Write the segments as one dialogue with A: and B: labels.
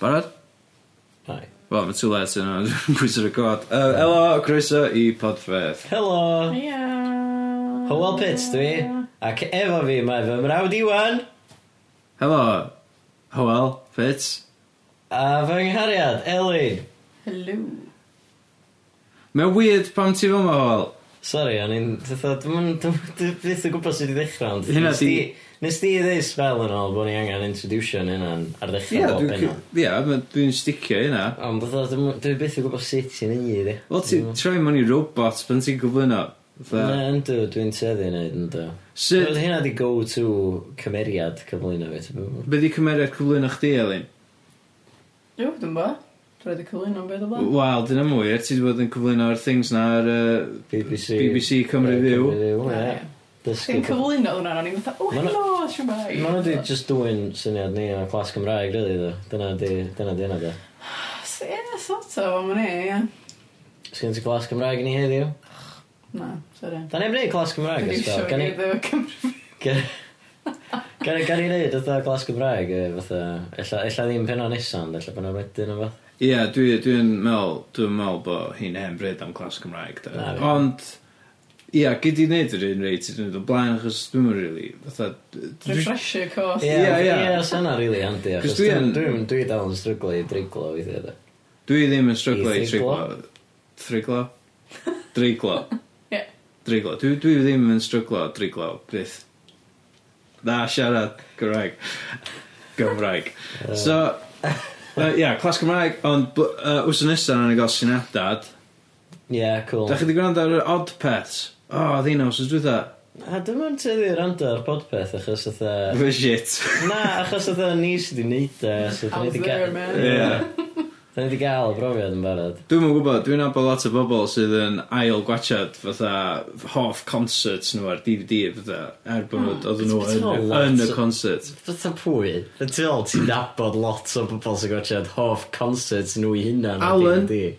A: Barod?
B: Hi.
A: Wel, mae too late yna, dwi'n pwysau record. Uh, helo, croeso i Podfeth.
B: Helo!
C: Ia.
B: Hywel Pits dwi, ac efo fi mae fy mrawd Iwan
A: Helo, Howell, Fitz.
B: a fy nghariad Elin.
C: Hello.
A: Mae'n weird pam ti fel yma, Howell.
B: Sorry, o'n i'n... fatha, Dwi'm yn... dwi'm- dwi byth yn gwybod sut i ddechrau, ond...
A: Hynna
B: nes
A: di-
B: Nes di ddeu spel yn ôl bod ni angen introduction hynna'n ar
A: Ie,
B: ddechrau bob
A: dwi'n
B: hynna.
A: c- ie, ma- dwi'n sticio i hynna.
B: Ond fatha, dwi'm- dwi byth yn gwybod sut i'n ei ddi.
A: Wel, ti'n troi mewn i robot pan ti'n gwybod hynna. Fatha,
B: Na, yndw, dwi'n teddu i wneud yndw.
A: Sut-
B: Wel, Hynna di go-to cymeriad cyflwyno fi. ti'n gwbod?
A: Be di cymeriad cyflwyn o'ch di, Elin?
C: Yw, dwi'n bo. Roedd y cylun o'n beth o blaen.
A: Wel, dyna mwy, ti wedi bod yn cyflwyno ar things na ar uh,
B: BBC.
A: BBC Cymru Fyw.
B: ie. Dysgu
C: Dwi'n
B: pobl-
C: cyflwyno hwnna, o'n i'n fatha, o,
B: Ma' 'na-
C: helo, siwmai.
B: Ma' nhw di just dwy'n syniad ni o clas Cymraeg, rydw ddo. Dyna di, dyna di yna da.
C: Ie, sort of, o'n ni, ie.
B: Sgyn ti clas Cymraeg i ni heddiw?
C: Na, sori.
B: Da neb neud clas Cymraeg,
C: Dwi'n
B: ysdo.
C: siwr
B: Gan i...
C: i ddefo Cymru.
B: Gan gan i gan i neud ytho glas Cymraeg, e, fatha... Ella ella ddim penod nesan, ella penod wedyn o fath.
A: Ie, dwi- dwi'n meddwl, dwi'n meddwl bod hi'n hen bryd am clas Cymraeg. Da.
B: Na, fi.
A: Ond, ie, gyd i wneud yr un reit, dwi'n dod o blaen, achos dwi'n meddwl, really, fatha... d- dwi-
C: Refresher course.
B: Ie,
A: Ie,
B: ie.
A: ie.
B: Ie, syna rili handi.
A: Cos
B: Cos
A: dwi
B: dwi'n...
A: yn-
B: Dwi'n dwi dal yn stryglo i dreiglo weithiau da.
A: Dwi ddim yn stryglo
B: I
A: i triglo. Triglo? Driglo.
C: Ie.
A: Driglo. Dwi, dwi ddim yn stryglo driglo, byth. Na, siarad Gymraeg. Gymraeg. So, yy, ie, clas Cymraeg, ond bl- yy, wrth nesaf na'n gael syniadad.
B: Ie, cool.
A: Da chi wedi gwrando ar yr odd pets? O, oh, ddinaw, sy'n dwi dda?
B: A dwi'n mynd tyddi rando ar podpeth, achos fatha...
A: Fy shit.
B: Na, achos oedd ni sydd wedi neud e. so
C: I
B: dan ni
C: was
B: di
C: there,
B: ga-
C: man.
A: Ie.
B: Ie. Dan ni wedi gael y brofiad yn barod.
A: Dwi'm yn gwybod, dwi'n nabod lot o bobl sydd yn ail gwachad fatha hoff concerts nhw ar DVD fatha er bod nhw, oedden nhw
B: It's- it's
A: yn,
B: not
A: yn y
B: lot.
A: concert.
B: Fytha pwy? Y tyl, ti'n nabod lot o bobl sy'n gwachod hoff concerts nhw i hunan. ar
A: Alan.
B: DVD.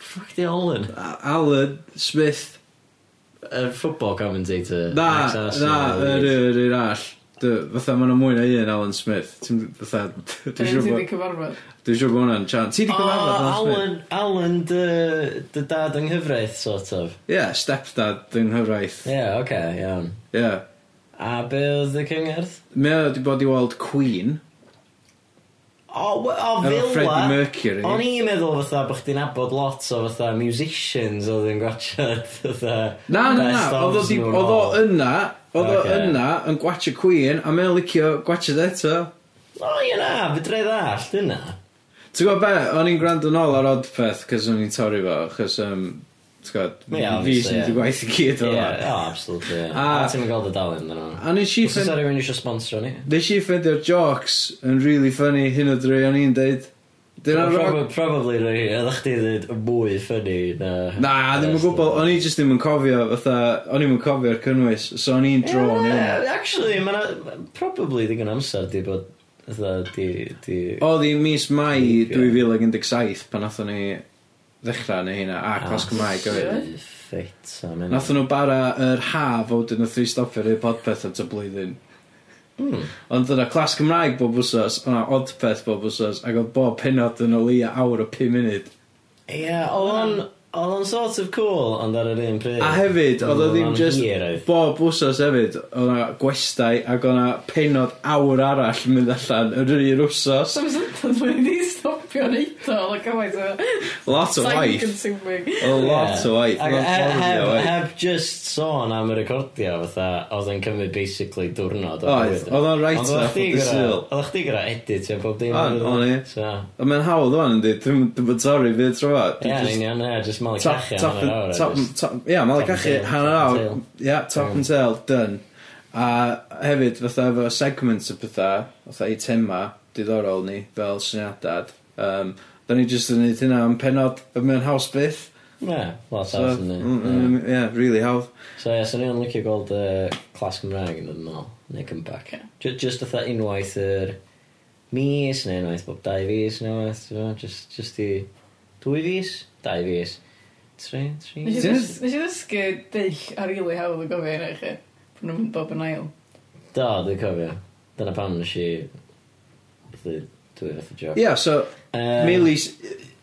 B: Fuck di Alan.
A: A- Alan Smith,
B: Y football commentator.
A: na, na,
B: ex-Arsenal.
A: yr yr yr all. Dy- Fatha ma' nhw mwy na un Alan Smith. Ti'n fatha,
C: Dwi'n
A: dwi'n siŵr
C: siwr
A: bod,
C: cyfarfod.
A: dwi'n siŵr bod hwnna'n chan. Ti di
B: O,
A: cyfarfod Alan Smith?
B: Oh, Alan, Alan, dy, dy dad yng nghyfraith, sort of.
A: Ie, stepdad yng Nghyfraith.
B: Ie, yeah, oce, okay, iawn.
A: Ie.
B: A be oedd y cyngerdd?
A: Mae o wedi bod i weld Queen,
B: O, we- o,
A: efo Freddie
B: Villa.
A: Mercury.
B: O'n i'n meddwl fatha bod chdi'n abod lot o fatha musicians oedd yn gwachod fatha...
A: Na, na,
B: best
A: na, oedd o
B: ofs
A: di-
B: nhw'n
A: oedd o
B: ôl.
A: yna, oedd o
B: Ocê.
A: yna yn gwachio Queen, a mae'n licio gwachio eto.
B: O, ie na, fydra i ddallt yna.
A: Ti'n gwybod be, o'n i'n gwrando nôl ar Odpeth, cos o'n i'n torri fo, cos, um, ti'n
B: Ie,
A: gwybod, fi
B: obviously,
A: sy'n
B: ie.
A: di gwaith i gyd o
B: Ie,
A: fa.
B: o, Oh, absolutely. ie.
A: A-
B: A ti'n mynd gael dy dalun yn o'n.
A: A nes i
B: Os oes
A: ffend...
B: rhywun eisiau sponsor ni?
A: Nes i ffendio'r jokes yn really funny hyn o drwy o'n i'n deud. Dyna roc...
B: Probably, probably rwy, oedd chdi ddweud mwy ffynnu na...
A: Na, ddim yn gwybod, o'n i just ddim yn cofio, fatha, o'n i'm yn cofio'r cynnwys, so o'n i'n dro yn hynna.
B: Ie, Actually, mae'na probably ddigon amser di bod... Ytho, di... di...
A: Oedd hi mis Mai
B: Ie.
A: 2017 pan nathon ni ddechrau neu hynna, a
B: Ah,
A: clas Cymraeg oedd.
B: Ffeit, a mynd.
A: Nathon nhw bara yr haf o dyn nhw three stopio'r ei podpeth at y blwyddyn.
B: Hmm.
A: Ond dyna clas Cymraeg bob wsos, o'na odpeth bob wsos, ac oedd bob penod yn o leia awr o 5 munud.
B: Ie, oedd o'n... Oedd o'n sort of cool, ond ar yr un pryd.
A: A hefyd, oedd o ddim
B: o'n
A: just
B: hir oedd.
A: bob wsos hefyd, o'na gwestai ac o'na penod awr arall yn mynd allan yr un wsos.
C: Some symptoms mae'n di stopio neud o, like, oh my god.
A: Lot o waith.
C: consuming.
A: A lot
B: Ie.
A: o waith.
B: Ac
A: lot
B: he-
A: horribly o
B: heb,
A: waith.
B: heb just sôn am y recordio, fatha, oedd yn cymryd basically diwrnod. o
A: Oedd,
B: bywyd.
A: oedd o'n right
B: Ond oeddach
A: off of
B: chdi
A: the
B: gyda-
A: seal.
B: Oeddach chdi gyda edit yn bob dim.
A: O'n-
B: oedd?
A: o'n i.
B: So,
A: A mae'n hawdd o'n ynddi, dwi'n bod torri fydd tro fa.
B: Ie, yn union, ie, just malu
A: Top,
B: cachu am
A: top,
B: hanner awr. a
A: top,
B: jyst-
A: top, ia, ma'n
B: top and
A: cachu
B: tail,
A: hanner
B: top and
A: awr. Ia, top and tail, done. A hefyd, fatha efo segments o pethau, fatha i tema, diddorol ni, fel syniadad. Um, da ni jyst yn neud hynna am penod, a mae'n haws byth.
B: Ie, lot
A: So,
B: awr.
A: mm, mm, Ie, really hawdd.
B: So, ie, so ni'n licio gweld y clas Cymraeg yn ymwneud nôl, neu comeback.
C: Ie.
B: Ju- Just oedd unwaith yr mis, neu unwaith bob dau fis, neu unwaith, you know, just, just i dwy fis, dau fis, tri,
C: Nes
B: tri.
C: i ddys- nes i ddysgu dill ar rili hawdd o gofio hynny, chi. Pan nhw'n bob yn ail.
B: Do, dwi'n cofio. Dyna pam nes i fatha, Dwi fath o joc.
A: Ia, so,
B: Yym.
A: milis,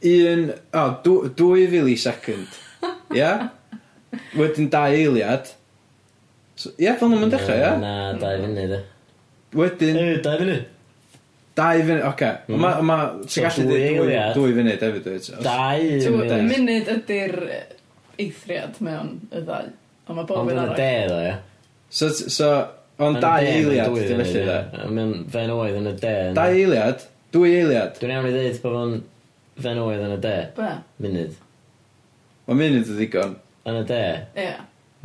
A: un, o, dw- dwy milisecond. Ia? Wedyn dau eiliad. So, Ia, fel nhw'n dechrau, ia?
B: Na, dau funud, e.
A: Wedyn,
B: Eh, dau funud.
A: dau funud, oce. Okay.
B: Mm.
A: Ma, ma, ti'n
B: So,
A: gallu dweud
B: dwy
A: dwy,
B: eiliad.
A: dwy funud hefyd, dweud. Os-
B: Dau
C: Ti'n
B: funud.
C: munud ydy'r eithriad mewn y ddau. Ond mae bob
B: Ond
C: yn
B: yn y de,
C: arall.
B: ddo, ia.
A: So, t- so, ond dau eiliad, ti'n felly, da.
B: Mae'n fen oedd yn y de. yndi?
A: Dau eiliad, dwy eiliad.
B: Dwi'n iawn i ddweud bod o'n fen oedd yn y de.
C: Be?
B: Munud.
A: Mae munud y ddigon.
B: Yn y de,
C: Ie.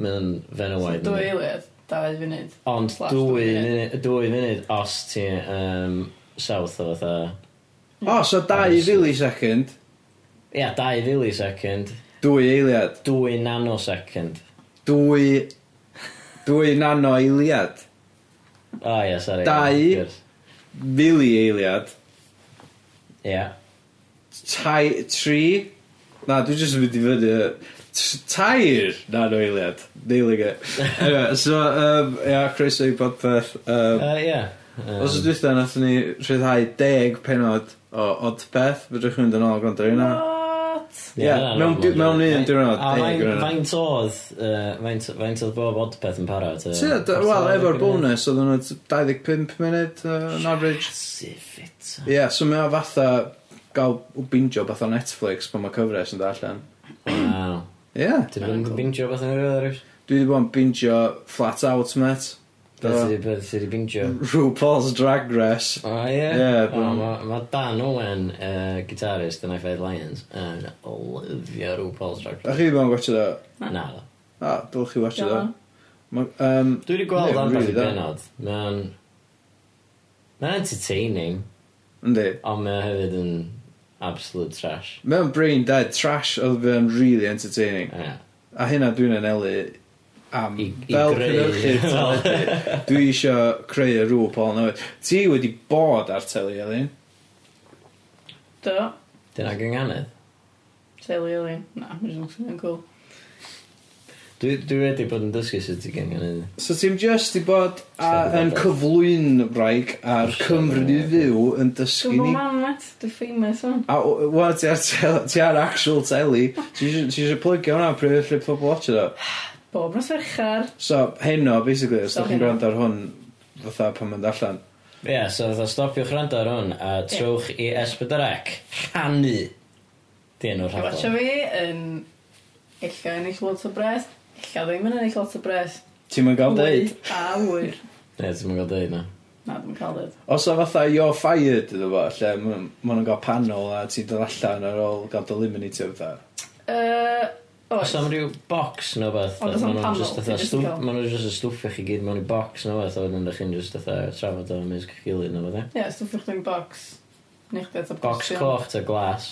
B: mae'n fen
C: So
B: oedd.
C: Dwy eiliad, dau funud.
B: Ond
C: slash
B: dwy
C: dwy
B: munud, dwy munud os ti um, south o fatha...
A: O, so dau milisecond,
B: Ia, dau filisecond.
A: dwy eiliad.
B: Dwy nanosecond.
A: Dwy, dwy nano eiliad.
B: O oh, ia, sori.
A: Dau. Fili eiliad.
B: Ia.
A: Tai, tri. Na, dwi jyst yn mynd i fyny. yy, t- Tair nano eiliad. Neilig e. Anyway, so, um, ia, croeso i podpeth. Um,
B: Ia.
A: Os y dwythau, nathon ni rhyddhau deg penod o Odpeth. Fydrwch chi'n mynd yn ôl gwrando ar hynna.
C: What?
A: Ie, mewn di- mewn un diwrnod,
B: A
A: deg
B: fain-
A: diwrnod.
B: Ah, faint oedd, yy, faint faint oedd bob odpeth yn para? ta?
A: Ti'n gwbod, wel, efo'r bonus, oedden nhw 25 munud uh, on average.
B: Sifit.
A: Ie, yeah, so mae o fatha gael bingio beth o Netflix pan mae cyfres yn dod allan.
B: Wow.
A: Ie, yeah.
B: Ti'n mynd yn bingio beth yn yr oed?
A: dwi wedi bod yn bingio Flat Out, met.
B: Beth ydi- beth ydi bingio?
A: RuPaul's Drag Race.
B: O ie?
A: Mm-hmm. Ie,
B: O,
A: dwi'n-
B: ma- Ma Dan Owen, yy, gitarist yn F8 Lions, yn lyfio RuPaul's Drag
A: A
B: Race.
A: chi bod yn gwachio do?
B: Na, do.
A: A, dylch chi watcho do.
C: Iawn.
A: Ma- Um,
B: Dwi wedi gweld
A: Ie,
B: ambell i
A: really da.
B: benod. Mae'n... Mae'n entertaining,
A: yndi.
B: ond mae o hefyd yn absolute trash.
A: Mewn brain dead trash oedd fe'n really entertaining.
B: Ie.
A: A hynna dwi'n anelu am
B: I- i
A: fel
B: greu.
A: cynhyrchydd teledu. Dwi eisiau creu y rŵp all newydd. Ti wedi bod ar teli, Elin?
C: Do.
B: Dyna gynghanedd.
C: Teulu Elin. Na, mae'n jyst yn cool.
B: Dwi, dwi wedi bod yn dysgu sut i gynghanedd.
A: So ti'n just i bod a,
B: Sa'n
A: yn
B: gwbod.
A: cyflwyn wraig a'r Cymru i fyw yn dysgu
C: Dwi'n
A: ni.
C: bod mam met, dwi'n famous o'n.
A: A w- wel, ti ar, tel- ti ar actual teli. Ti isio- ti eisiau plygio hwnna pryd lle pobl watch o.
C: Bob nos ferchar.
A: So heno, basically, os
C: So,
A: ydych chi'n
C: heno.
A: gwrando ar hwn fatha pan mae'n allan.
B: Ie, yeah, so dda stopiwch rando ar hwn a trowch i Esbydrec. Chanu. Di enw'r
C: A watcha
B: rhaglen.
C: fi yn... Illa yn eich lot o bres. Illa ddim yn eich lot o bres.
A: Ti'n mynd gael deud?
C: Wyr A wyr.
B: Ne, ti'n mynd gael deud na.
C: Na, dwi'n cael dweud.
A: Os o fatha you're fired iddo fo, lle ma' nhw'n gael panel a ti'n dod allan ar ôl gael dy eliminatio fatha.
C: Yy...
B: Oes am ryw box neu beth?
C: Ond oes am
B: nhw'n jyst
C: panel,
B: fatha
C: ti jyst
B: stw-
C: fel-
B: ma' nhw'n jyst yn stwffio chi gyd mewn i box neu beth, a wedyn ydych chi'n jyst fatha trafod o ymysg eich gilydd neu beth. ie?
C: Ie, stwffio chdi'n box. Neu chdi at y
B: Box coch ta glas.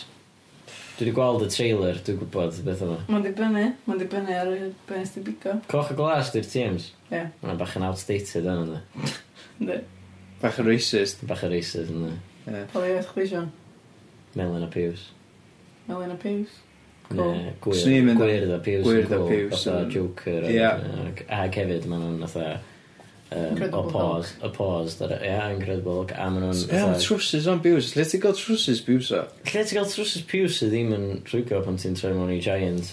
B: Dwi wedi gweld y trailer, dwi'n gwybod beth yma.
C: Mae'n dibynnu, mae'n dibynnu ar y beth sy'n bigo.
B: Coch a glas di'r teams.
C: Ie,
B: Mae'n bach yn outdated yn yna.
C: ynddi.
A: Bach yn racist.
B: Bach yn racist yn yna.
A: Ie.
C: Poli eich chwi Sion,
B: Melyn a Piws.
C: Elin a Piws. Cool.
B: Ne, Gwyrdd
A: Swn i'n mynd am-
B: gwyrdd a Piws.
A: Gwyrdd a
B: yn cool,
A: Piws
B: Fatha
A: yn-
B: Joker.
A: Ie.
B: a- ac- Ac hefyd, maen nhw'n fatha... Um,
C: Incredible
B: opposed, opposed, ar- ie, Incredible Hulk, a maen nhw'n
A: Ie, mae trwsys o'n biws. Lle ti'n gael trwsys biws o?
B: Lle ti'n gael trwsus piws sydd ddim yn rhwygo pan ti'n troi mewn i giant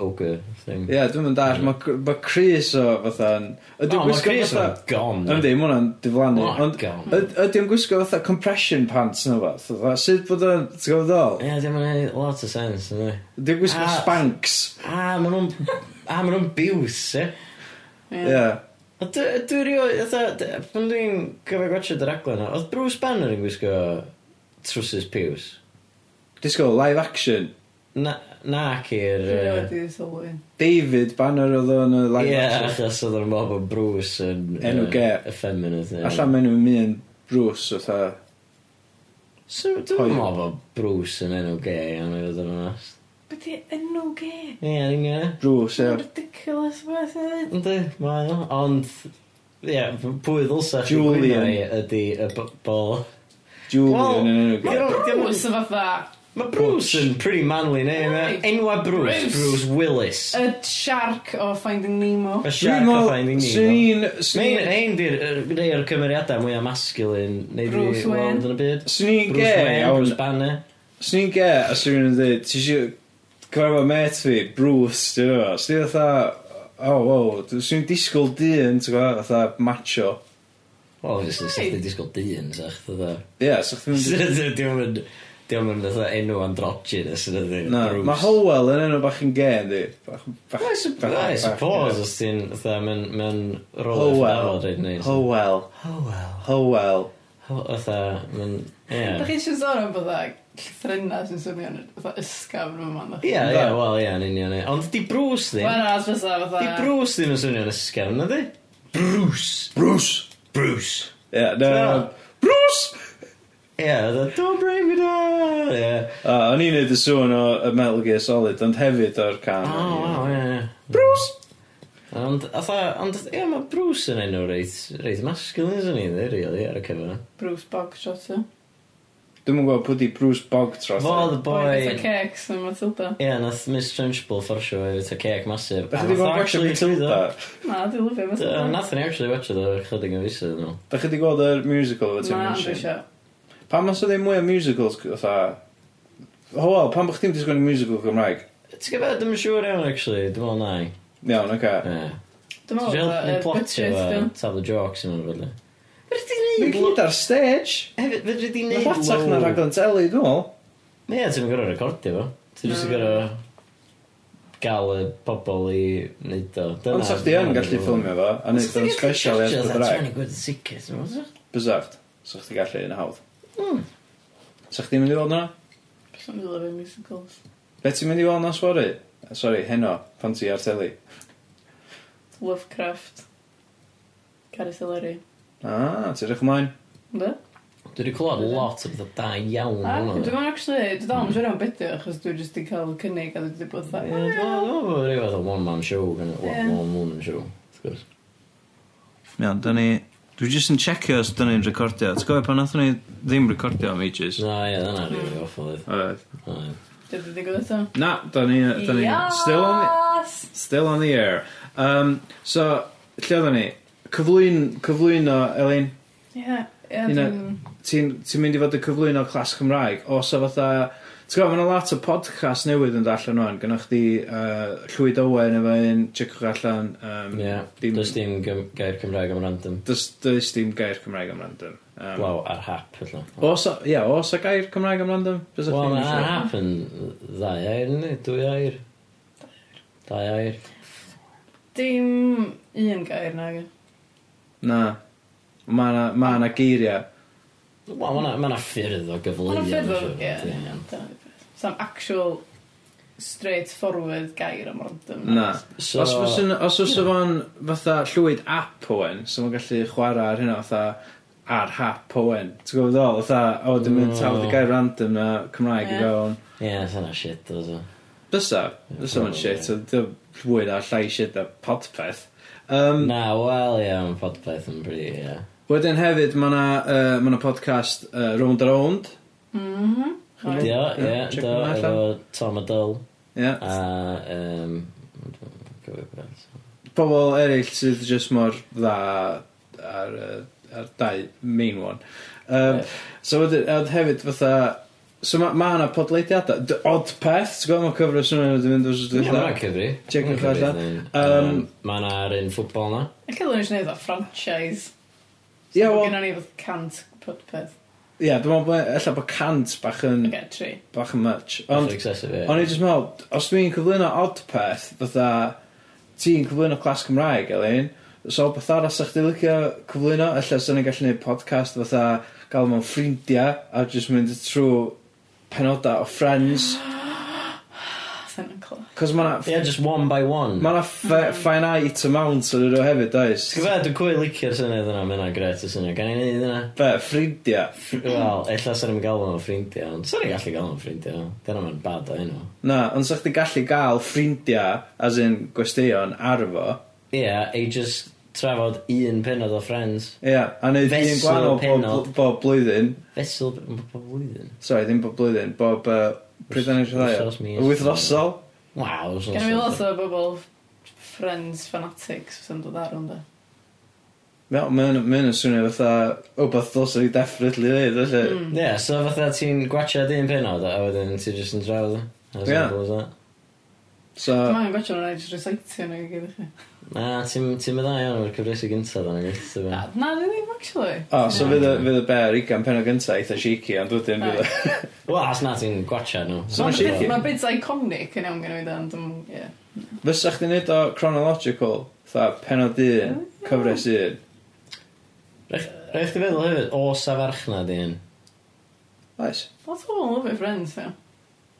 B: ogre thing?
A: Ie, dwi'n mynd all. Mae Chris o fatha... yn- Ydy o'n
B: mae
A: gwisgo
B: Chris yn
A: fatha...
B: gone.
A: Yndi, mae hwnna'n diflannu.
B: Oh,
A: Ond
B: God.
A: yd- ydy o'n gwisgo fatha compression pants neu fath? Fatha, Sut bod o'n... Ti'n gwybod ddol?
B: Ie, ddim yn gwneud lot o sens, ynddi.
A: Ydy o'n gwisgo
B: Ah.
A: spanks?
B: A, maen nhw'n... A, maen nhw'n biws, e?
A: Ie.
B: A dwi dwi rio... Ytha, pan dwi'n gyfer gwaethe dy raglen o, oedd Bruce Banner yn gwisgo trwsus piws?
A: Disgo, live action.
B: Na, na cyr...
C: Dwi'n rhaid i sylwi.
A: David Banner oedd o'n y live
B: Ie,
A: action.
B: achos oedd o'n mob o Bruce yn...
A: Enw
B: yy,
A: gê.
B: Effeminate. ie.
A: Alla mewn mi yn Bruce fatha...
B: So,
A: Hoi.
B: dwi'n mob o Bruce yn enw gay, ond i fod yn onast.
C: Be di enw ge?
B: Ie, yn union.
A: Bruce, ie.
C: Mae'n ridiculous beth i ddweud.
B: Ynddi, mae o. Ond, ie, p- pwy ddylsa chi
A: Julian.
B: gwyno i ydi y b- bol.
A: Julian
B: Wel,
A: yn enw
B: Ie.
A: gael.
C: Dwi'n mwys yn fatha
B: Mae Bruce yn pretty manly name, eh?
C: Right.
B: Enwa Bruce,
C: Bruce.
B: Bruce, Willis.
C: Y shark o Finding Nemo.
B: Mae
A: Dwi'n
B: Shark o Finding
A: meddwl,
B: Nemo.
A: swn i'n...
B: Mae'n
A: swn i'n-
B: ein di'r rei o'r cymeriadau mwyaf masculine neu di
C: Bruce Wayne.
B: weld yn y byd.
A: Swn i'n
B: Bruce
A: ge,
B: Wayne,
A: iawn.
B: Bruce Banner.
A: Swn i'n ge, a swn i'n dweud, ti eisiau cyfarfod met fi, Bruce, ti'n gwybod? Swn i'n fatha, oh, wow, swn i'n disgwyl dyn, ti'n gwybod, fatha macho.
B: Wel, obviously, sa'ch di disgwyl dyn, sa'ch dda.
A: Ie, yeah, so chdi'n mynd...
B: Diolch yn... Diolch yn fatha enw androgynous yn ydy.
A: Na, mae Howell yn enw bach yn ge, ynddi. Bach, bach,
B: I
A: bach- bach-
B: suppose, os ti'n... Fatha, mae'n... Mae'n rolau
A: Howell.
B: ffnafod reit neis.
A: Howell.
B: Howell.
A: Howell.
B: Fatha, mae'n...
C: Da
B: Ie,
C: chi eisiau sôn am bydda llythrenna sy'n swnio'n fatha ysgafn yma man.
B: Ie, ie, wel, ie, yn union. ie. Ond di Bruce
C: Wel,
B: ddim.
C: na, os fysa
B: Di
C: fatha...
B: Bruce ddim yn swnio'n ysgafn, ydy? Bruce.
A: Bruce!
B: Bruce.
A: Ie, yeah, no, no,
B: Ti'n
A: no. Bruce!
B: Ie, fatha, don't bring me down! Ie.
A: Uh, o'n i'n neud y sŵn o y Metal Gear Solid, ond hefyd o'r can.
B: O, waw, ie, ie.
A: Bruce!
B: Ond, fatha, ond, ie, mae Bruce yn enw reit, reit masculine, sy'n ni, dde, really, ar y cyfer.
C: Bruce Bogtrotter.
A: Dwi'n yn gwybod pwy di Bruce Bogtroth.
B: Fo, the
C: Boi, fatha
B: boy...
C: cecs yn Matilda.
B: Ie, nath Miss Trunchbull fforsio fe fyta cake masif.
A: Da chi wedi gweld watch Matilda?
C: Na, dwi'n lyfio
B: Uh,
C: Matilda.
B: nath ni actually watch it o'r chydig yn fysa, dwi'n meddwl.
A: Da chi wedi gweld yr musical o
C: Na, dwi'n
A: Tim
C: eisiau.
A: Pan mas o ddim mwy o musicals, fatha... O, wel, pan bych ti'n disgwyl musical Gymraeg?
B: Ti'n gwybod, dwi'n siŵr iawn, actually, dwi'n meddwl nai.
A: Iawn, oce.
B: Ie. Ti'n
C: Dwi'n meddwl
B: siŵr ni
C: fatha y
B: plotio
C: butchers,
B: fe,
C: dwi'n.
B: taflu jokes yn ymwneud. Fydri di
A: Dwi'n
B: neud...
A: gyd ar stage.
B: Hefyd, fydri di
A: Mae'n
B: neud...
A: watach na
B: low-
A: rhaglen teli, dwi'n meddwl.
B: Ie, ti'n gorau recordio fo. Ti'n just
C: Na.
B: gorau gael y pobl i wneud o. Dyna-
A: Ond sa'ch di yn
B: dyna
A: gallu
B: dwi'n meddwl.
A: ffilmio fo, a wneud o'n special i
B: Pictures,
A: Esbyd
B: that's
A: Rhaeg.
B: really good, sicr, ti'n meddwl?
A: Bysacht. Sa'ch di gallu yn hawdd. Sa'ch di'n mynd i weld na?
C: Dwi'n lyfio musicals.
A: Be ti'n mynd i weld na sori? Sori, heno, pan ti ar teli.
C: Lovecraft. Caris Hilary.
A: Ah, ti'n rych ymlaen?
C: Ynddo?
B: Dwi wedi clywed lot o bethau da iawn
C: A,
B: yn hwnna.
C: Dwi'n actually, dwi dal yn siŵr am beth yw, achos dwi jyst wedi cael cynnig a dwi wedi bod
B: Ie, Dwi'n
C: fatha...
B: meddwl bod rhyw fath o one man show gan y
C: Ie.
B: one woman show. wrth gwrs.
A: Iawn, da ni... Dwi jyst yn checio os da ni'n recordio. T'w gofio pan nathon ni ddim recordio am ages?
B: Na, ie, dyna rhywbeth awful oedd.
A: Alright.
B: Ie.
C: Dwi wedi digwydd eto.
A: Na, da ni... Da ni still, on
C: Yes!
A: the, still on the air. Um, so, lle da ni? Cyflwyn, cyflwyn o, Elin,
C: Ie, ie,
A: Hynna-
C: dwi'n...
A: ti'n ti mynd i fod y cyflwyn o clas Cymraeg? Os o fatha... T'w gofio, mae'n lot o podcast newydd yn darllen o'n. Gynnwch chi uh, Llwyd Owen efo un, checwch allan. Um,
B: Ie,
A: dim-
B: does dim gym- gair Cymraeg am random.
A: Does, does dim gair Cymraeg am random. Um,
B: Blaw ar hap, felly.
A: Os, o- ie, os y gair Cymraeg am random? Bys
B: Wel, mae ar hap yn ddau air, ni? Dwy air? Dau air.
C: Dim un gair nag. e.
A: Na. Mae na, ma na geiriau.
B: Wel, mae yna- mae yna ffyrdd o
C: Ond
B: gyfleu.
C: yn ffyddol,
B: siŵr.
C: ie. Sam actual straightforward gair am random.
A: Na.
B: So-
A: os fysyn, os oes fo'n fatha llwyd app Owen, so mae'n gallu chwarae ar hynna fatha ar hap Owen. Ti'n gwybod ddol? Fatha, oh, o, dim yn
B: No.
A: tafod y gair random na Cymraeg i
C: Ie.
A: fewn.
B: Ie, sy'n shit, oes o.
A: Bysa. Bysa mae'n
B: probably.
A: shit. so Dim llwyd a llai shit a podpeth. Um,
B: Na, wel, ie, mae podpeth yn bryd, ie.
A: wedyn hefyd, mae na, uh, ma na podcast uh, Round a Round.
C: Mhm. Oes.
B: Dio, ie,
A: Ie, check
B: do,
A: hwnna allan.
B: efo Tom Adol.
A: Yeah.
B: A, um, gofio beth.
A: pobl eraill sydd just mor dda ar, y- ar dau main one. Um,
B: Ie.
A: So wedyn, a hefyd fatha, so mae ma yna podleidiadau, The Odd Peth, ti'n gwybod mae'n cyfro swnio wedi mynd os
B: Ie,
A: ydych
B: mae'n cyfri.
A: Check
B: Ma'n
A: it out,
B: cyfri,
A: um,
B: yym, Mae yna'r un ffwbol na.
C: Ac oedden nhw'n gwneud o franchise.
A: Ie,
C: Mae
A: wel,
C: gennym ni fod cant podpeth.
A: ie, dwi'n meddwl bod ella bod cant bach yn,
C: Ac e, tri.
A: bach yn much. Ond,
B: Ond...
A: o'n i just meddwl, os dwi'n cyflwyno Odd Peth, fatha, ti'n cyflwyno clas Cymraeg, Elin, so beth arall sa'ch di licio cyflwyno, ella sy'n ni'n gallu gwneud podcast fatha, gael mewn ffrindiau, a just mynd trwy penodau o Friends,
C: Sa'n yn clas.
A: Cos ma'na
B: Ie, just one by one.
A: ma'na fe- finite amount yn nhw hefyd, does?
B: Ti'n gwybod, dwi'n cwy licio'r syniad yna, mae'n gret y syniad. Gan i ni yna?
A: Be, ffrindiau?
B: Wel, ella sa'n ni'n gael nhw'n ffrindiau, ond sa'n ni'n gallu gael nhw'n ffrindiau. Dyna mae'n bad o hynny.
A: Na, ond sa'ch di gallu gael ffrindiau, as in gwesteion, ar fo.
B: Ie, ei just trafod un penod o Friends.
A: Ia, a neud un
B: Fesul
A: gwahanol bob,
B: pennod.
A: bob blwyddyn.
B: Fesul, mae'n pob blwyddyn.
A: Sorry, ddim bob blwyddyn, bob uh, Pryd dan ni'n
B: Wsos,
A: rhedai?
B: mis.
A: Wythnosol?
B: Waw, os
C: Gen i lot o bobl friends fanatics sy'n dod ar hwn da.
B: Ah.
A: Wel, mae'n ma swnio fatha, o beth ddos i definitely dweud, felly.
C: Mm.
B: Ie, so fatha ti'n gwachad un penod a wedyn ti jyst yn drafod o. As
A: Ie.
B: simple as that.
A: So,
C: Mae'n gwaethaf nhw'n edrych recitio nhw i gyd i chi.
B: Na, ti'n ti'n meddai iawn o'r cyfresi gyntaf dan ag eithaf.
C: Na, na, dwi ddim, actually.
A: o,
B: Ah,
A: so fydd y- fydd y bear ugain pen o gynta eitha cheeky, ond wedyn fydd y...
B: Wel, as na ti'n gwachad nhw.
A: So
C: Mae
A: mae'n shaky.
C: bits- mae bits iconic yn iawn gen i fi dan, dwi'n... ie.
A: Fysa chdi wneud o chronological, fatha penod un, cyfres un.
B: Rhaid chdi feddwl hefyd, o safarchnad i hyn.
A: Oes,
C: Lot o bobl yn lyfio friends, ie.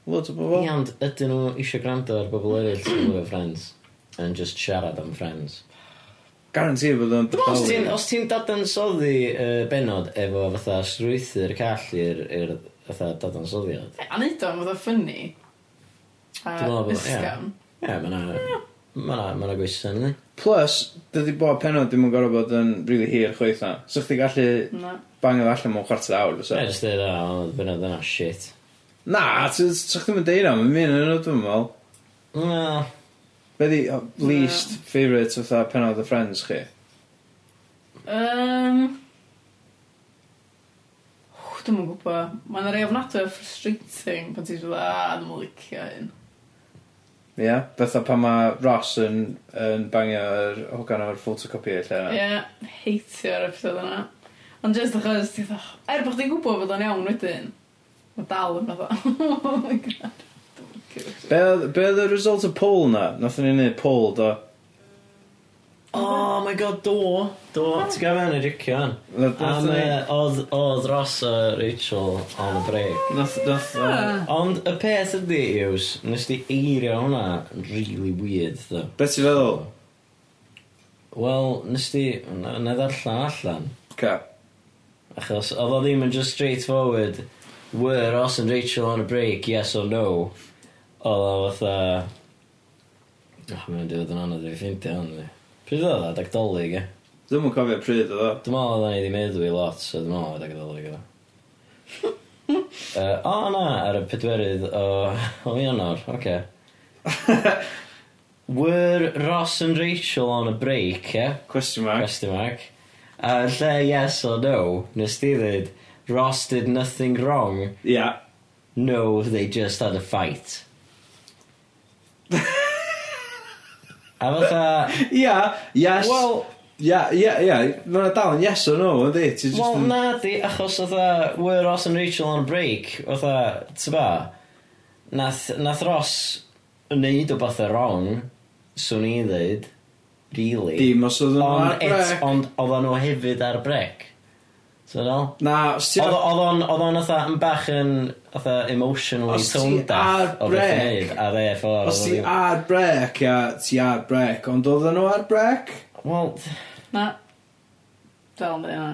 A: loads o
B: Ie,
A: bobl.
B: ond ydyn nhw eisiau gwrando ar bobl eraill sy'n gwybod friends. And just siarad am friends.
A: Garanti bod o'n
B: Os ti'n
A: bodoli.
B: os ti'n dadansoddi uh, benod efo fatha strwythyr call i'r i'r fatha dadansoddiad.
C: A neud o'n fod o ffynnu. A
B: Dwi'n meddwl bod- ie.
C: ysgam.
B: Ie, yeah, mae'na... Mae'na ma gweision ni.
A: Plus, dydy bod penod dim yn gorau bod yn rili hir chwaith na. So chdi gallu
B: Hmm.
C: Na.
A: bangio fo allan mewn chwarter awr,
B: Ie,
A: fysa.
B: jyst dweud, a, o, benod yna, shit.
A: Na, so chdi yn deud am, mi'n yn oed yn fel.
B: Na,
A: Be di uh, least favourite fatha penod y Friends chi?
C: Um, Dwi'n mwyn gwybod. Mae'n rei ofnadwy o frustrating pan ti'n dweud, a, dwi'n mwyn "Ah, licio hyn.
A: Ie? Yeah? Betha pan mae Ross yn, yn bangio yr hogan o'r photocopy lle
C: Ie,
A: yna.
C: yeah, heitio'r episod yna. Ond jyst achos, ti'n dweud, er bod chdi'n gwybod bod o'n iawn wedyn, mae dal yn fatha, oh my god. Dwi'm yn licio hyn."
A: Be oedd- Be oedd y result y poll na? Nathon ni'n neud poll do.
B: Oh my god, do. Do. Ti'n gael fewn i ricio hwn.
A: Nath-
B: A
A: nathon
B: mae
A: ni-
B: oedd, oedd Ross a Rachel on the break.
A: Nath... Nath... um,
C: Ah.
B: Ond y peth ydy, Iws, nes di eirio hwnna yn really weird, ddo.
A: Be ti'n feddwl?
B: Wel, nes di... Na, na ddarllen allan.
A: Ca.
B: Achos oedd o ddim yn just straightforward. Were Ross and Rachel on a break, yes or no? Oedd o fatha... Och, mae'n dod yn anodd i ffeindio hwn, dwi. Pryd oedd o, dagdolig, e?
A: Dwi'n mwyn cofio pryd oedd o.
B: Dwi'n meddwl oedden ni wedi meddwi lot, so dwi'n meddwl oedden ni wedi gyda. uh, o na, ar y pedwerydd o, o Ionor, oce. Okay. Were Ross and Rachel on a break, ie? Yeah?
A: Question mark.
B: Question mark. A lle yes or no, nes ti ddweud, Ross did nothing wrong,
A: Ia. Yeah.
B: no, they just had a fight. a fatha,
A: Ia. Yeah. Yes. Wel...
B: well,
A: Ia. Ia. Ia. Mae'n dal yn yes or no, ynddi? Ti'n
B: Wel,
A: just...
B: na di, achos oedd were Ross and Rachel on a break, oedd ti'n ba, nath, nath Ross wneud o bethau wrong, swn i ddweud, really.
A: Dim os oedd yn ar
B: ond et,
A: brec.
B: ond oedd nhw hefyd ar brec. Ti'n fel?
A: Na, os ti'n...
B: Oedd oedd o'n oedd o'n fatha yn bach yn fatha emotionally
A: Os ti
B: tone
A: ar
B: deaf o beth i
A: brec-
B: wneud ar e ffordd.
A: Os
B: oedd
A: ti
B: ddim-
A: ar brec, ia, ti ar brec, ond oedden nhw ar brec?
B: Wel,
C: Na. Dal yn dweud yna.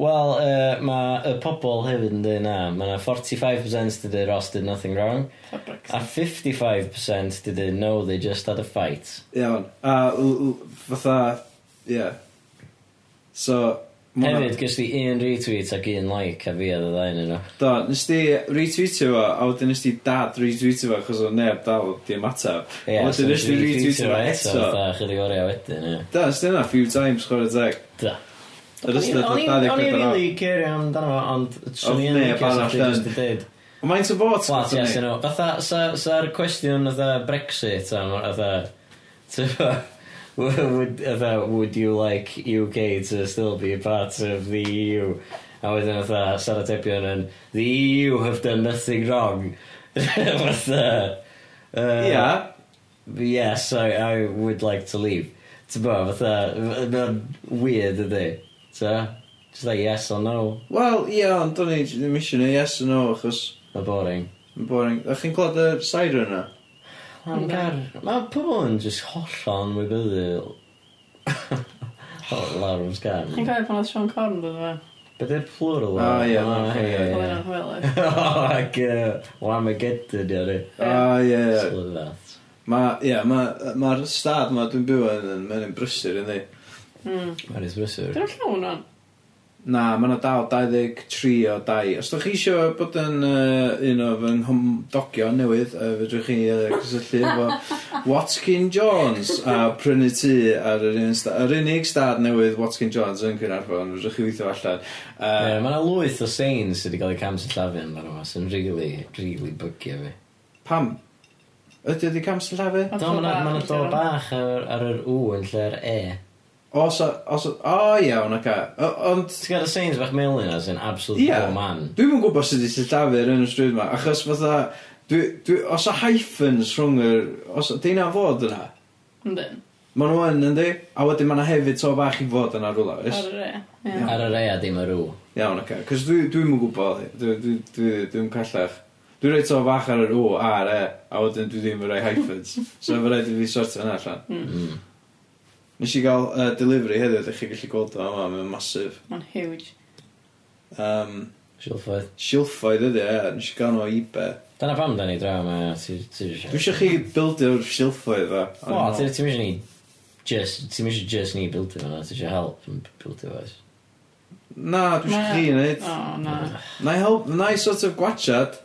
B: Wel, uh, mae y pobl hefyd yn dweud na, mae yna 45% did it, Ross did nothing wrong,
C: Ta Brexit.
B: A 55% did it know they just had a fight.
A: Iawn. A l- l- fatha, ie. Yeah. So, ma' hwnna-
B: Hefyd, gys di un retweet ac un like a fi oedd y ddain yno.
A: Do, nes di retweetio fo, a wedyn nes di dad retweetio fo, achos o neb dal di ymateb.
B: Ie,
A: A wedyn nes di retweetio fo eto.
B: Fatha, chydig oriau wedyn, ie.
A: Da, nes di yna few times, chwarae teg.
B: Da.
A: Yr ystod o
B: O'n i-
A: 24
B: o'n i
A: awr.
B: rili cerio amdano fo, ond swn i
A: Oedd
B: yn
A: neb
B: licio sa
A: arall yn.
B: chdi jyst i ddeud.
A: O, Mae'n to bot,
B: Flat, yes,
A: ni.
B: yno. Fatha, sa- sa'r cwestiwn fatha Brexit, a ma- fatha, t'bo, would, fatha, would you like UK to still be part of the EU? A wedyn fatha, sa'r atebion yn, the EU have done nothing wrong. fatha, uh,
A: Ia.
B: Yes, I, I would like to leave. Ti'n bo, fatha, mae'n weird ydy. So, just like yes or no,
A: Wel, ie, ond o'n i ddim eisiau neu yes or no, achos
B: mae'n boring.
A: yn boring. A chi'n clod y siren yna?
B: Am car. Mae pobl yn just hollol yn wybyddil. Lawr am sgar.
C: Chi'n cael pan oedd Sean Corn dod yma?
B: Be de plural?
A: O, ie,
B: O,
A: ie,
C: Oedd
B: ie.
C: yna'n hwylus.
B: Ac Wamageddon i ar y
A: O, Ah, ie, ie.
B: slyfath.
A: Ma- Ie, ma- ma'r stad ma dwi'n byw yn, mae'n brysur, ynddi?
C: Mm.
B: Maris Brysur.
C: Dwi'n llawn o'n.
A: Na, mae yna dal 23 o dau. Os ydych chi eisiau bod yn uh, un o fy nghymdogion newydd, uh, fedrwch chi uh, cysylltu efo Watkin Jones a prynu tŷ ar yr, un sta- yr unig stad newydd Watkin Jones yn Cynarfon, fedrwch chi weithio allan.
B: Ie,
A: Uh,
B: Mae yna lwyth o seins sydd wedi cael eu cam sy'n llafio yn barod yma, sy'n really, really bygio fi.
A: pam? Ydy wedi camsel llafu?
C: Ond
B: Do, mae
C: bach
B: yna
C: yn
B: do
C: siarad.
B: bach ar, ar yr W yn lle'r E.
A: Os o... Os o... O, iawn, oce. O- Ond...
B: Ti'n gael y seins bach melun yna sy'n absolute
A: Ie.
B: yeah. man.
A: Dwi'm yn gwybod sut i sillafu'r yn y stryd yma, achos fatha... Dwi, dwi, os o hyphens rhwng yr... Os o... Dyna fod yna.
C: Yndyn.
A: Ma nhw yn, yndi? A wedyn ma' 'na hefyd to bach i fod yna rwla, oes?
C: Ar yr e. Ie.
A: Iawn.
B: Ar yr E a dim ar W.
A: Iawn, oce. Okay. Cos dwi, dwi'm yn gwybod, dwi, dwi, dwi, dwi'n callach. Dwi'n rhoi to bach ar yr O a'r E, a wedyn dwi ddim yn rhoi hyphens. so fe rhaid i fi sortio hynna allan.
B: Mm.
A: Nes i gael uh, delivery heddiw, ydych chi gallu gweld o yma, mae'n masif.
C: Mae'n huge.
A: Um,
B: Silffoedd.
A: silffoedd ydy, e, nes i gael nhw o eBay.
B: Dyna pam da ni draw yma, ti eisiau...
A: Dwi eisiau chi bildio'r silffoedd fa.
B: O, ti eisiau ni... Just, ti'n eisiau just ni bildio fyna, ti eisiau help yn bildio fo.
A: Na, dwi eisiau chi wneud.
C: O, na.
A: Na i help, na i sort of gwachad.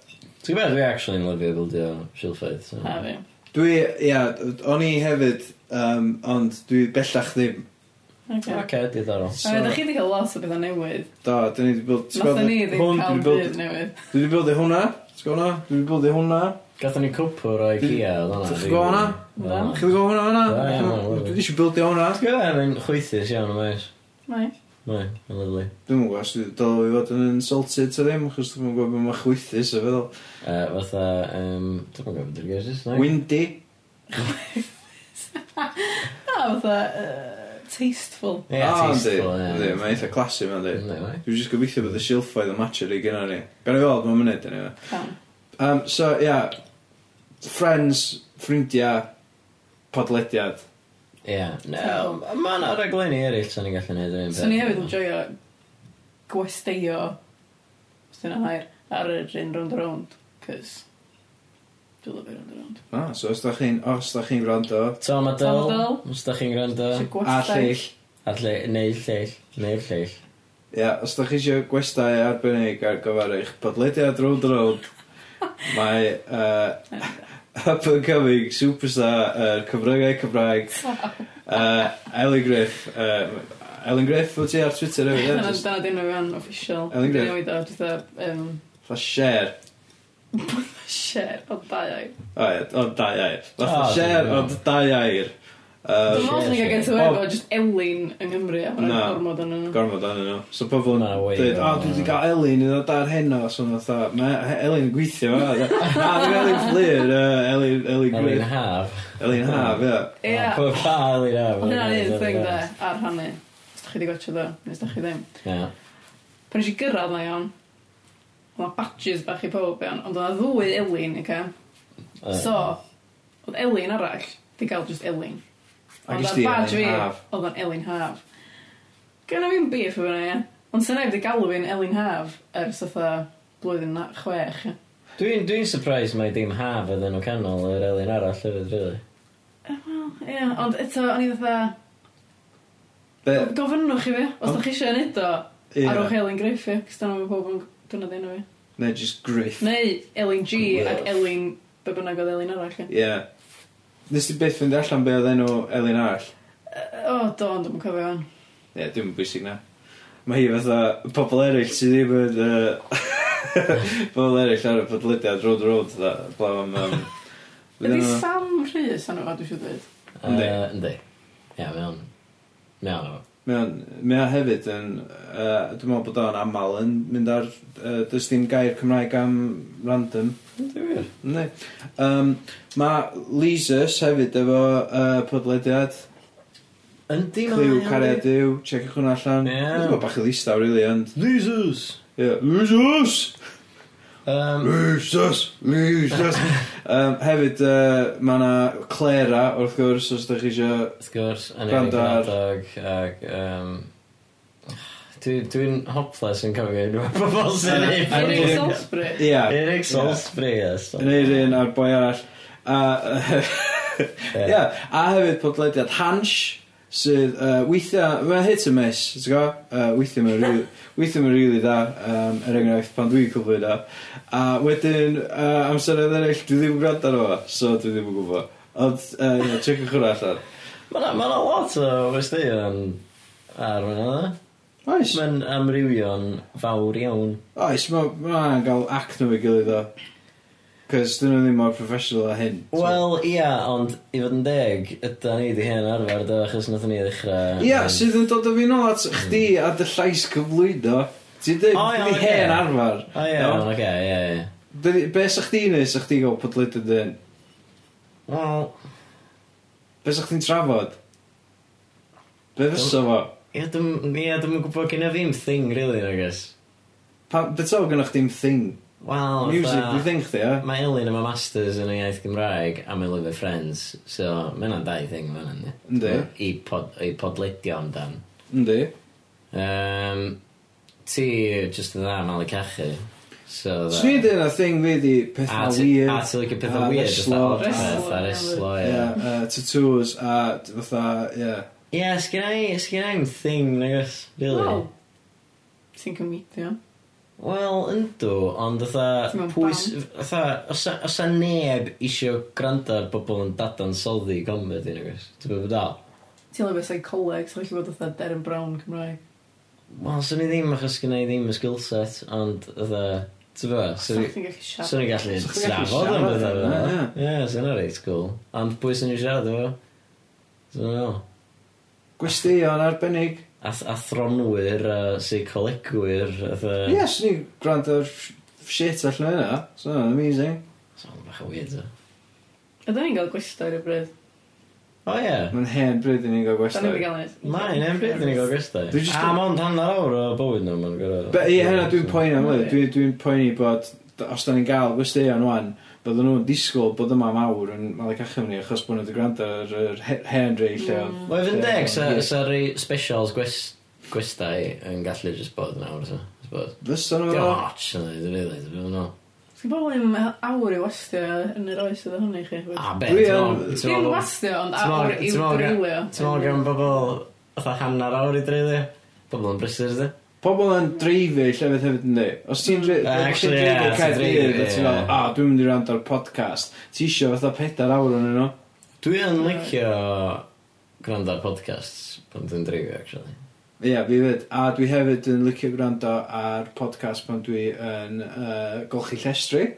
B: Ti'n gwybod, dwi actually yn lyfio bildio silffoedd. so-
C: Na fi.
A: Dwi, ia, o'n i hefyd, um, ond dwi bellach ddim.
C: Oce.
B: Ocê, diddorol.
C: A fe, da chi wedi cael lot o bethau newydd.
A: Do, dyn ni wedi build... ti'n
C: Nath
A: gwbod, hwn,
C: ni ddim cael
A: dwi 'di build-
C: byd newydd.
A: Dwi wedi buildio hwnna. Ti'n gwybod hwnna? Dwi wedi buildio hwnna.
B: Gatho ni cwpwr o Ikea, oedd hwnna.
A: Ti'n gwybod hwnna?
C: Na.
A: Chi'n gwybod hwnna
B: Da, ia,
A: hwnna?
B: ma' hwnna.
A: Dwi eisiau buildio hwnna.
B: Ti'n gwybod, mae'n chwythus iawn yma oes.
C: Mae.
B: Mae, mae'n lyflu.
A: Dwi'n mwyn gwybod os dwi dod i fod yn insulted ta ddim, achos dwi'n mwyn gwybod beth mae chwythus o feddwl.
B: Uh, fatha, um, dwi'n gwybod beth yw'r gair Saesneg.
A: Windy.
C: Na, fatha... yy, Tasteful.
B: Ie,
A: Ah,
B: tasteful,
A: yndi,
B: ie. Mm.
A: yndi, Mae'n eitha classy ma'n dweud.
B: Yndi, mae.
A: Dwi'n just gobeithio bod y silffoedd yn matcher i gynnar ni. Gan i fod, mae'n mynd yn efo.
C: Cawn.
A: Um, so, ia, yeah, friends, ffrindiau, podlediad.
B: Ie. No, mae yna raglenni eraill sa'n ni'n gallu gwneud yr un peth.
C: So ni hefyd yn joio gwesteio os dyna hair ar yr un round round cys dwi'n lyfio round round
A: Ah, so, os da chi'n, os da chi'n gwrando,
B: Tom
C: Tom
B: Adele,
C: Adele.
B: os da chi'n gwrando.
C: Isio
A: a
C: gwestai.
A: lleill.
B: A lle, neu lleill, neu lleill.
A: Ia, yeah, os da chi eisiau gwestai arbennig ar gyfer eich podlediad round round, mae uh, up and coming superstar uh, cyfryngau Cymraeg, uh, Elin Griff, uh, Elin Griff, wyt ti ar Twitter hefyd,
C: dyna
A: ie? Just
C: dyna dyn nhw fan official
A: Elin
C: dwi'n
A: Griff.
C: newid o dwi'n dda um,
A: fatha share.
C: share o dau ai
A: O ie, ond dau air. Fatha
B: O,
A: share,
B: dwi'n
A: ond dau air.
C: dwi'n
A: Uh,
B: share,
C: meddwl ni gael
B: share.
C: get away
A: O.
C: fo just Elin yng Nghymru a mae'n
A: Na.
C: gormod yn yno
A: Gormod anyn nhw. So pobl yn
B: Na, way
A: dweud, o,
B: wrong.
A: dwi wedi cael Elin i ddod ar heno. So mae'n dda, mae Elin yn gweithio fa. Na, dwi'n Elin Fleur, uh, Elin, Elin
B: Ar un
A: Griff.
B: haf.
A: Elin Haf, ie.
C: ie
B: Ah, Pa pa ar un haf.
C: ond hynna'n un thing da ar hannu os da chi wedi gotio dda nes da chi ddim
B: Ie.
C: pan eisiau gyrraedd na iawn Mae badges bach i pob iawn, ond oedd ddwy Elin, oce?
B: Yy,
C: So, oedd Elin arall, di gael just Elin.
A: Ac
C: Ond
A: ys
C: ar
A: di
C: badge
A: Elin
C: fi,
A: Haf.
C: Oedd o'n Elin Haf. Gynna fi'n beef efo hwnna, ia. Ond sy'n efo galw fi'n Elin Haf ers otha blwyddyn na chwech. ia.
B: Dwi'n dwi surprised mae dim haf ydyn nhw canol yr elin arall hefyd, really.
C: Ie, ond eto, o'n i fatha,
A: Be-
C: gofynnwch i fi, os
A: Ond-
C: da chi eisiau neud o,
A: ie.
C: arwch Elin Griff, ia, cys dyna mae pob yn dyna ddyn fi.
A: Neu just Griff.
C: Neu Elin G
B: Griff.
C: ac Elin, be bynnag oedd Elin arall. ia.
A: Ie. Nes ti byth fynd allan be oedd enw Elin arall?
C: Yy, O, do, ond dwi'n cofio fan.
A: Ie, yeah, dim yn bwysig na. Mae hi fatha pobl eraill sydd ddim yn... Uh, pobl eraill ar y podlydiad road road dda, blaw am... Um,
C: Ydy Sam Rhys anna fo, dwi'n siŵr dweud.
A: Yndi.
B: Yy, Yndi. Ie, mewn. Mewn o.
A: Mae o hefyd yn... Uh, dwi'n meddwl bod o'n aml yn mynd ar... Uh, Does dim gair Cymraeg am random. Ne. Um, mae Lesus hefyd efo uh, podlediad.
B: Yndi,
A: Cliw cariad yw. Checiwch hwnna allan.
B: Ie.
A: Dwi'n meddwl bach i listaw, really, ond...
B: Losers!
A: Yeah. Lesus!
B: Um,
A: Lysus, Lysus. um, hefyd, uh, mae yna Clara, wrth gwrs, os ydych chi eisiau...
B: wrth gwrs, yn ei
A: Gwrando ar-
B: gwrandog ac... Um, Dwi'n dwi hopeless yn cofio unrhyw bobl sy'n
A: Yy,
B: ei
A: a
C: Yn ei
A: dwi'n-
B: ffwrdd.
C: Salisbury.
A: Ia,
B: Eric Salisbury, yes.
A: yn ei un a'r boi arall. A, ia, a hefyd podlediad Hansh, sydd uh, weithiau, mae'n hit and miss, ti'n go? Uh, weithiau mae'n rili, weithiau mae'n rili dda, um, er enghraifft pan dwi'n cyflwyd o. A wedyn, uh, amser oedd eraill, dwi ddim yn gwrando arno fo, so dwi ddim yn gwybod. Ond, uh, yeah, checkwch hwnna allan.
B: Mae yna ma 'na lot o westeion ar hwnna.
A: Oes,
B: Mae'n amrywio'n fawr iawn.
A: oes, mae'n ma hwnna'n cael act nhw i gilydd o. Cos dyn nhw ddim mor professional a hyn. so-
B: Wel, ia, ond i fod yn deg, yda ni di hen arfer, do, achos nath ni ddechrau...
A: Ia,
B: yn-
A: sydd yn dod o fi nôl at chdi a dy llais cyflwyno. Ti'n dweud,
B: Mm. O, ia,
A: oh,
B: ocê.
A: hen arfer.
B: O ia,
A: Iawn?
B: iawn, oce, ia, ia.
A: Dydi- Be sa chdi neud, sa chdi gael podlyd yn dyn?
B: Wel,
A: Be sa chdi'n trafod? Be fysa fo?
B: ia, dwi'm ia, dwi'm yn gwybod gyda fi'm thing, really, I guess.
A: Pa- Be to gynnwch chdi'n thing?
B: Wel,
A: Music,
B: fatha-
A: dwi'n thing chdi, ia?
B: Mae Elin yma masters yn y iaith Gymraeg a mae lyfr Friends, so mae hwnna'n dau thing fan hynny.
A: Yndi.
B: I, pod, I podledio amdan.
A: Yndi.
B: Um, ti just yn dda malu cachu. So, dda-
A: Swn i'n dweud na thing fi di
B: A
A: pethau
B: Ah, ti-
A: weird.
B: A ti lycio
A: a
B: pethau weird, fatha
A: reslo.
B: odd peth ar eslo, ie.
A: Ia, uh, tattoos a d- fatha, ia.
B: Ie, sgynna i, sgynna i'm thing, nagos, really.
C: Wel, ti'n cymidio.
B: Wel, yndw, ond
C: Ti
B: fatha,
C: mewn
B: pwys, fatha, os a- os a neb isio gwrando ar bobl yn dadan soddi comedy, nagos, ti'n bod dal?
C: Ti'n lyfio psycholeg, sy'n lli bod oedd Darren Brown Cymraeg.
B: Wel, swn i ddim achos gyda i ddim y skill set, ond ydw, ti'n fo, swn
C: Swn
B: i-
C: i'n gallu siarad.
B: swn i'n gallu
A: Swn i'n gallu
B: trafod am
A: siarad
B: beth
A: am
B: efo.
A: hynna,
B: Ie, swn i'n reit cool. Ond pwy sy'n i'n siarad efo? Swn i'n fel.
A: Gwesteion arbennig.
B: A a thronwyr, a seicolegwyr, e- ydw.
A: Ie, swn i'n gwrando ar sh- shit allan yna. So, amazing.
B: Swn i'n bach o weird, o.
C: Ydyn ni'n cael gwestiwn ar y bryd.
B: O ie.
A: Mae'n hen bryd i ni'n gael
C: Da ni'n
A: gwesteion.
C: gael nes.
B: Mae'n embryd yn ei gael gysdau.
A: Dwi jyst-
B: A mond hanner awr o bywyd nhw, mae'n gorau.
A: Be- Ie, hynna dwi'n poeni am
C: Ie.
A: hynny. Dwi- Dwi'n poeni bod, d- os da ni'n gael gwesteion wan, bydden nhw'n disgwyl bod yma mawr yn Malac Achim ni, achos bod nhw'n gwrando ar yr he- hen rei lle oedd.
B: Wel, fy'n
A: lle
B: Mm. deg,
A: oedd-
B: sa-
A: Ie.
B: sa rei specials gwes- gwestai yn gallu just bod yn awr, so. I suppose.
A: Fysa nhw
B: Dim
A: fel-
B: ots yn dweud, really, dwi'n meddwl.
C: Ti'n bobl yn awr i wastio yn yr oes oedd hynny chi.
B: A be,
A: Dwi
B: ti'n
A: yn-
B: meddwl- Ah, ti'n
C: Dim
B: meddwl...
C: wastio, ond
B: ti'n meddwl-
C: awr i
B: ti'n meddwl-
C: dreulio.
B: Ti'n meddwl gan bobl, fatha hanner awr i dreulio? Bobl yn brysur, ydy?
A: Pobl yn dreifio i llefydd hefyd yn di. Os ti'n dre-
B: Mm.
A: os ti'n
B: Actually, ie,
A: dreifio
B: os ti'n
A: Caerdydd,
B: dreifio,
A: a ti'n fel,
B: ie.
A: "Ah, dwi'n mynd i wrando ar podcast." Ti isio fatha pedair awr onyn nhw.
B: Dwi yn licio gwrando ar podcasts pan dwi'n dreifio, actually.
A: Ie, fi 'fyd. A dwi hefyd yn licio gwrando ar podcast pan dwi yn, yy, golchi llestri.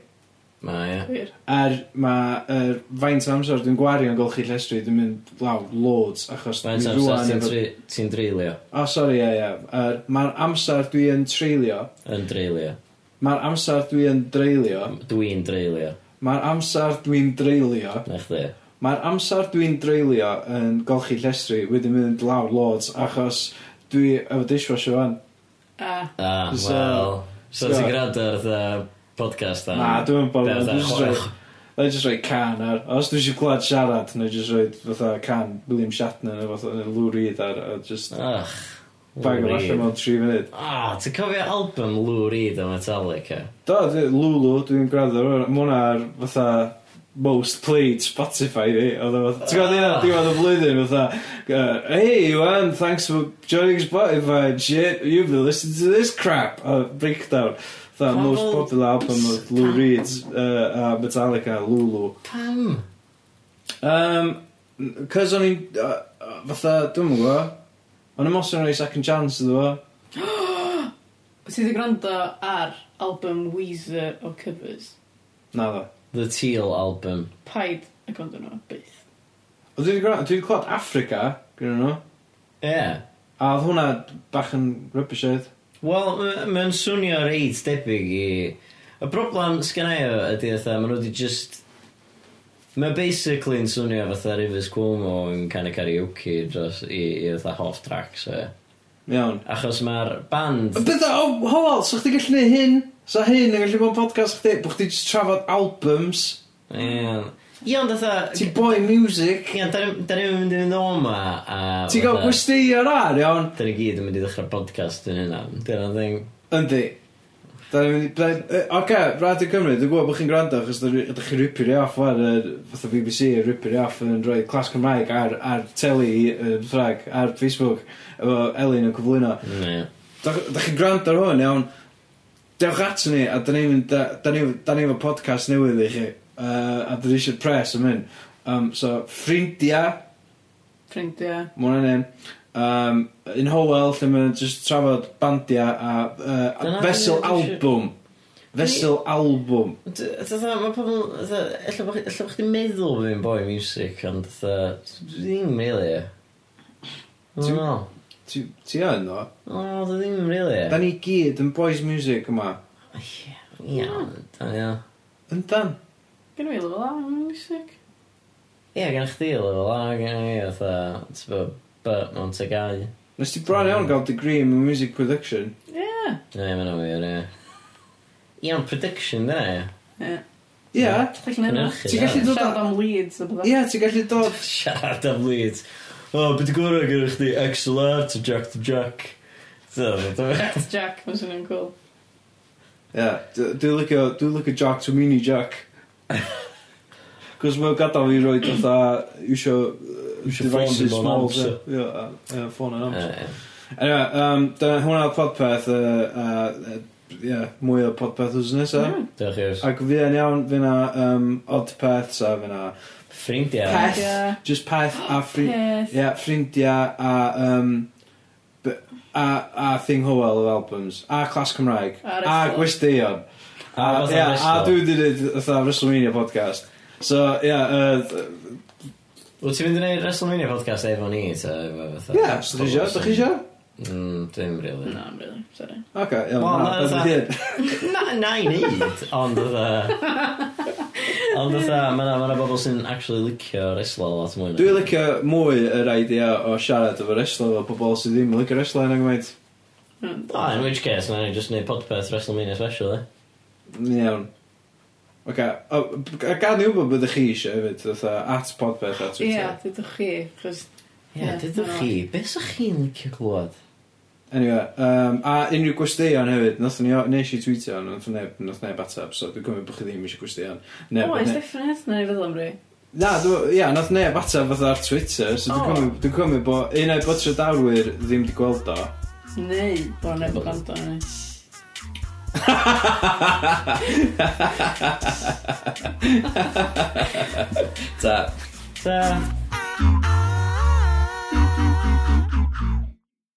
B: Ma, ie.
C: Gwir.
A: A'r mae er, faint o amser dwi'n gwario yn golchi llestri, dwi'n mynd law loads, achos
B: Mae'n
A: dwi
B: amser
A: rŵan
B: ti'n
A: efo...
B: dre- ti'n dreulio,
A: O, sori, ie, ie. Er, Mae'r amser dwi yn treulio,
B: yn dreulio.
A: mae'r amser dwi yn dreulio,
B: Dwi'n dreulio,
A: mae'r amser dwi'n dreulio,
B: na chdi.
A: mae'r amser dwi'n dreulio yn golchi llestri wedi mynd law loads, achos dwi efo dishwasher fan.
C: A,
B: Ah,
A: So-
B: wel. So
A: so-
B: ti'n gwrando ar fatha podcast am...
A: Na, dwi'n
B: be'
A: bod
B: fatha
A: yn
B: e chwech-
A: rhaid... Neu jyst rhoi can ar... Os dwi eisiau gwlad siarad, neu jyst rhoi fatha can William Shatner neu fatha neu Lou Reed ar... A jyst
B: Ach.
A: bag o
B: Lou Reed.
A: allan mewn tri funud.
B: Ah, ti'n cofio album Lou Reed o Metallica?
A: Do, dwi- Lulu, dwi'n gwrando, ar hwnna. ma' hwnna ar fatha most played Spotify fi, oedd o fatha, ti'n gwybod hynna, diwedd y flwyddyn, fatha, uh, hey, Iwan, thanks for joining Spotify and shit, you've been listening to this crap, a breakdown, fatha,
B: Pobl-
A: most popular album of Lou Reed's, uh, a Metallica, Lulu.
B: Pam?
A: Um, cos o'n i'n, uh, uh, fatha, dwi'n mwyn gwybod, o'n i'n mos yn rhoi second chance iddo fo,
C: ti wedi gwrando ar album Weezer o covers.
A: na ddo.
B: The Teal album.
C: Paid y gwrando nhw, byth.
A: Ond Dwi wedi gwrando, dwi wedi clod Africa, gyda nhw,
B: Ie. Yeah.
A: A oedd hwnna bach yn rubbish oedd.
B: Wel, ma- mae'n swnio reit debyg i... Y broblem sgynna i o ydy fatha, maen nhw wedi just... Mae basically yn swnio fatha Rivers Cuomo yn canu karaoke dros i, i fatha half tracks. So,
A: Iawn.
B: Achos mae'r band...
A: Bydda, o, oh, hoel, so chdi gallu neud hyn? Sa hyn yn gallu bod yn podcast chdi? Bwch chdi jyst trafod albums?
B: Ie, Ie, ond fatha...
A: Ti boi music?
B: Ie, da ni'n mynd i fynd o ma a...
A: Ti gael
B: fatha-
A: gwesteion ar, iawn?
B: Da ni gyd yn mynd i ddechrau podcast yn hynna. Dyna'n thing.
A: Yndi. Da ni'n mynd i... da- yy, Oce, Radio Cymru, dwi'n gwybod bod chi'n gwrando achos dy- ydych chi'n ripio'r off ar y... Fatha BBC yn ripio'r off yn rhoi clas Cymraeg ar, ar teli, yy, Ffrag, ar Facebook, efo Elin yn cyflwyno.
B: Ne.
A: Da da chi'n gwrando ar hwn, iawn. Dewch at ni, a da ni'n mynd... Da da ni'n da ni'n efo podcast newydd i chi. Uh, a da ni eisiau pres am hyn. Um, so, ffrindiau,
C: Ffrindiau.
A: mae hwnna'n un. Um, un howel, lle mae'n just trafod bandiau a uh,
B: Dyna
A: fesel
B: be' dwi isio-
A: albwm. Fesel albwm.
B: Dyna, mae pobl... Alla bod chdi'n meddwl bod fi'n boi music, ond dyna... Ddim, really.
A: Ti-
B: Dwi'n meddwl.
A: Ti ti yn o?
B: O, dwi ddim, really.
A: Da ni gyd yn boys music yma.
B: Ie, Iawn, da ni o.
A: Yndan.
C: Gen i fi lefel A yn music.
B: Ie, gan chdi lefel A, gan i fatha, ti'n bod, but mewn tegau.
A: Nes ti bron
B: Mm.
A: iawn gael degree in music production.
C: Ie.
B: Ne, mae'n awyr, ie. Iawn, prediction da, ie.
C: Ie.
A: Ie.
C: Ti'n gallu neud
B: Gwnewch
C: hwnna?
B: chi,
C: Ti'n gallu
A: ie.
C: dod am leads o bydda?
A: Ie, ti'n gallu dod...
B: Siarad am leads. O, beth i gwrdd gyda chdi XLR to Jack to Jack. So, dwi'n
C: Jack Jack, mae'n swnio'n cool.
A: Ie. d- Dwi'n licio... Dwi'n licio Jack to mini Jack. Cos mae'n gadael fi roed fatha... Iwsio...
B: Iwsio
A: Devices
B: ffôn dim ond
A: small.
B: amser.
A: Ie, a- ie, ffôn yn amser.
B: meddwl.
A: Anyway, um, dyna hwnna oedd podpeth. Ie, uh, yeah, mwy o podpeth wrth nesaf.
C: Mm.
B: Diolch i'r
A: Ac fi yn iawn, fi na um, odd peths a fi na...
B: ffrindiau.
A: Peth.
C: Ie.
A: Just peth
C: Oh,
A: a ffri...
C: Yes.
A: Ie, ffrindiau a, um, b- a, a Thing Howell of albums, a Clas Cymraeg,
C: A
A: a
C: wrestling.
A: Gwesteion. A,
B: A fatha
A: ie, a
B: wrestling.
A: dwi wedi dweud fatha WrestleMania podcast. So, ie, yy,
B: Wyt ti'n mynd i wneud WrestleMania podcast efo ni, ta? efo fatha-
A: ie, so chi eisiau, da chi eisiau?
B: Mm, Dwi'n rili.
C: Na, I'm really, sorry.
A: Ok, iawn,
B: Wel,
A: na,
B: na,
A: beth
B: fatha-
A: ydy hyn.
B: Na, na i neud, ond fatha... Ond fatha, mae'na ma bobl sy'n actually licio wrestlo lot mwy. na-
A: Dwi'n licio mwy yr idea o siarad efo wrestler o bobl sydd ddim yn licio wrestler yna gymaint.
C: Hmm.
B: O, in which case, na ni just neud podpeth WrestleMania special, eh?
A: Iawn. Ok, o, b- a gan i wybod byddwch chi eisiau hefyd, fatha, at podpeth at
C: Ie,
A: Twitter.
C: dydwch chi, chos
B: Ie, yeah,
C: Ie,
B: dydwch
C: na.
B: chi, beth sa'ch chi'n licio glwad?
A: Anyway, um, a unrhyw gwesteion hefyd, nath ni, nes i tweetio hwn, nath neb, nath neb ateb, so dwi'n cymryd bod chi ddim eisiau gwesteion. Neb,
C: Oes,
A: ne,
C: definite, na i feddwl am rei.
A: na, dw- ia, nath neb ateb fatha ar Twitter, so dwi'n
C: O.
A: cymryd, dwi'n cymryd bod un o'i bod trydawr ddim wedi gweld o.
C: Neu, bod yn efo gant o'n ei.
A: Ta.
B: Ta!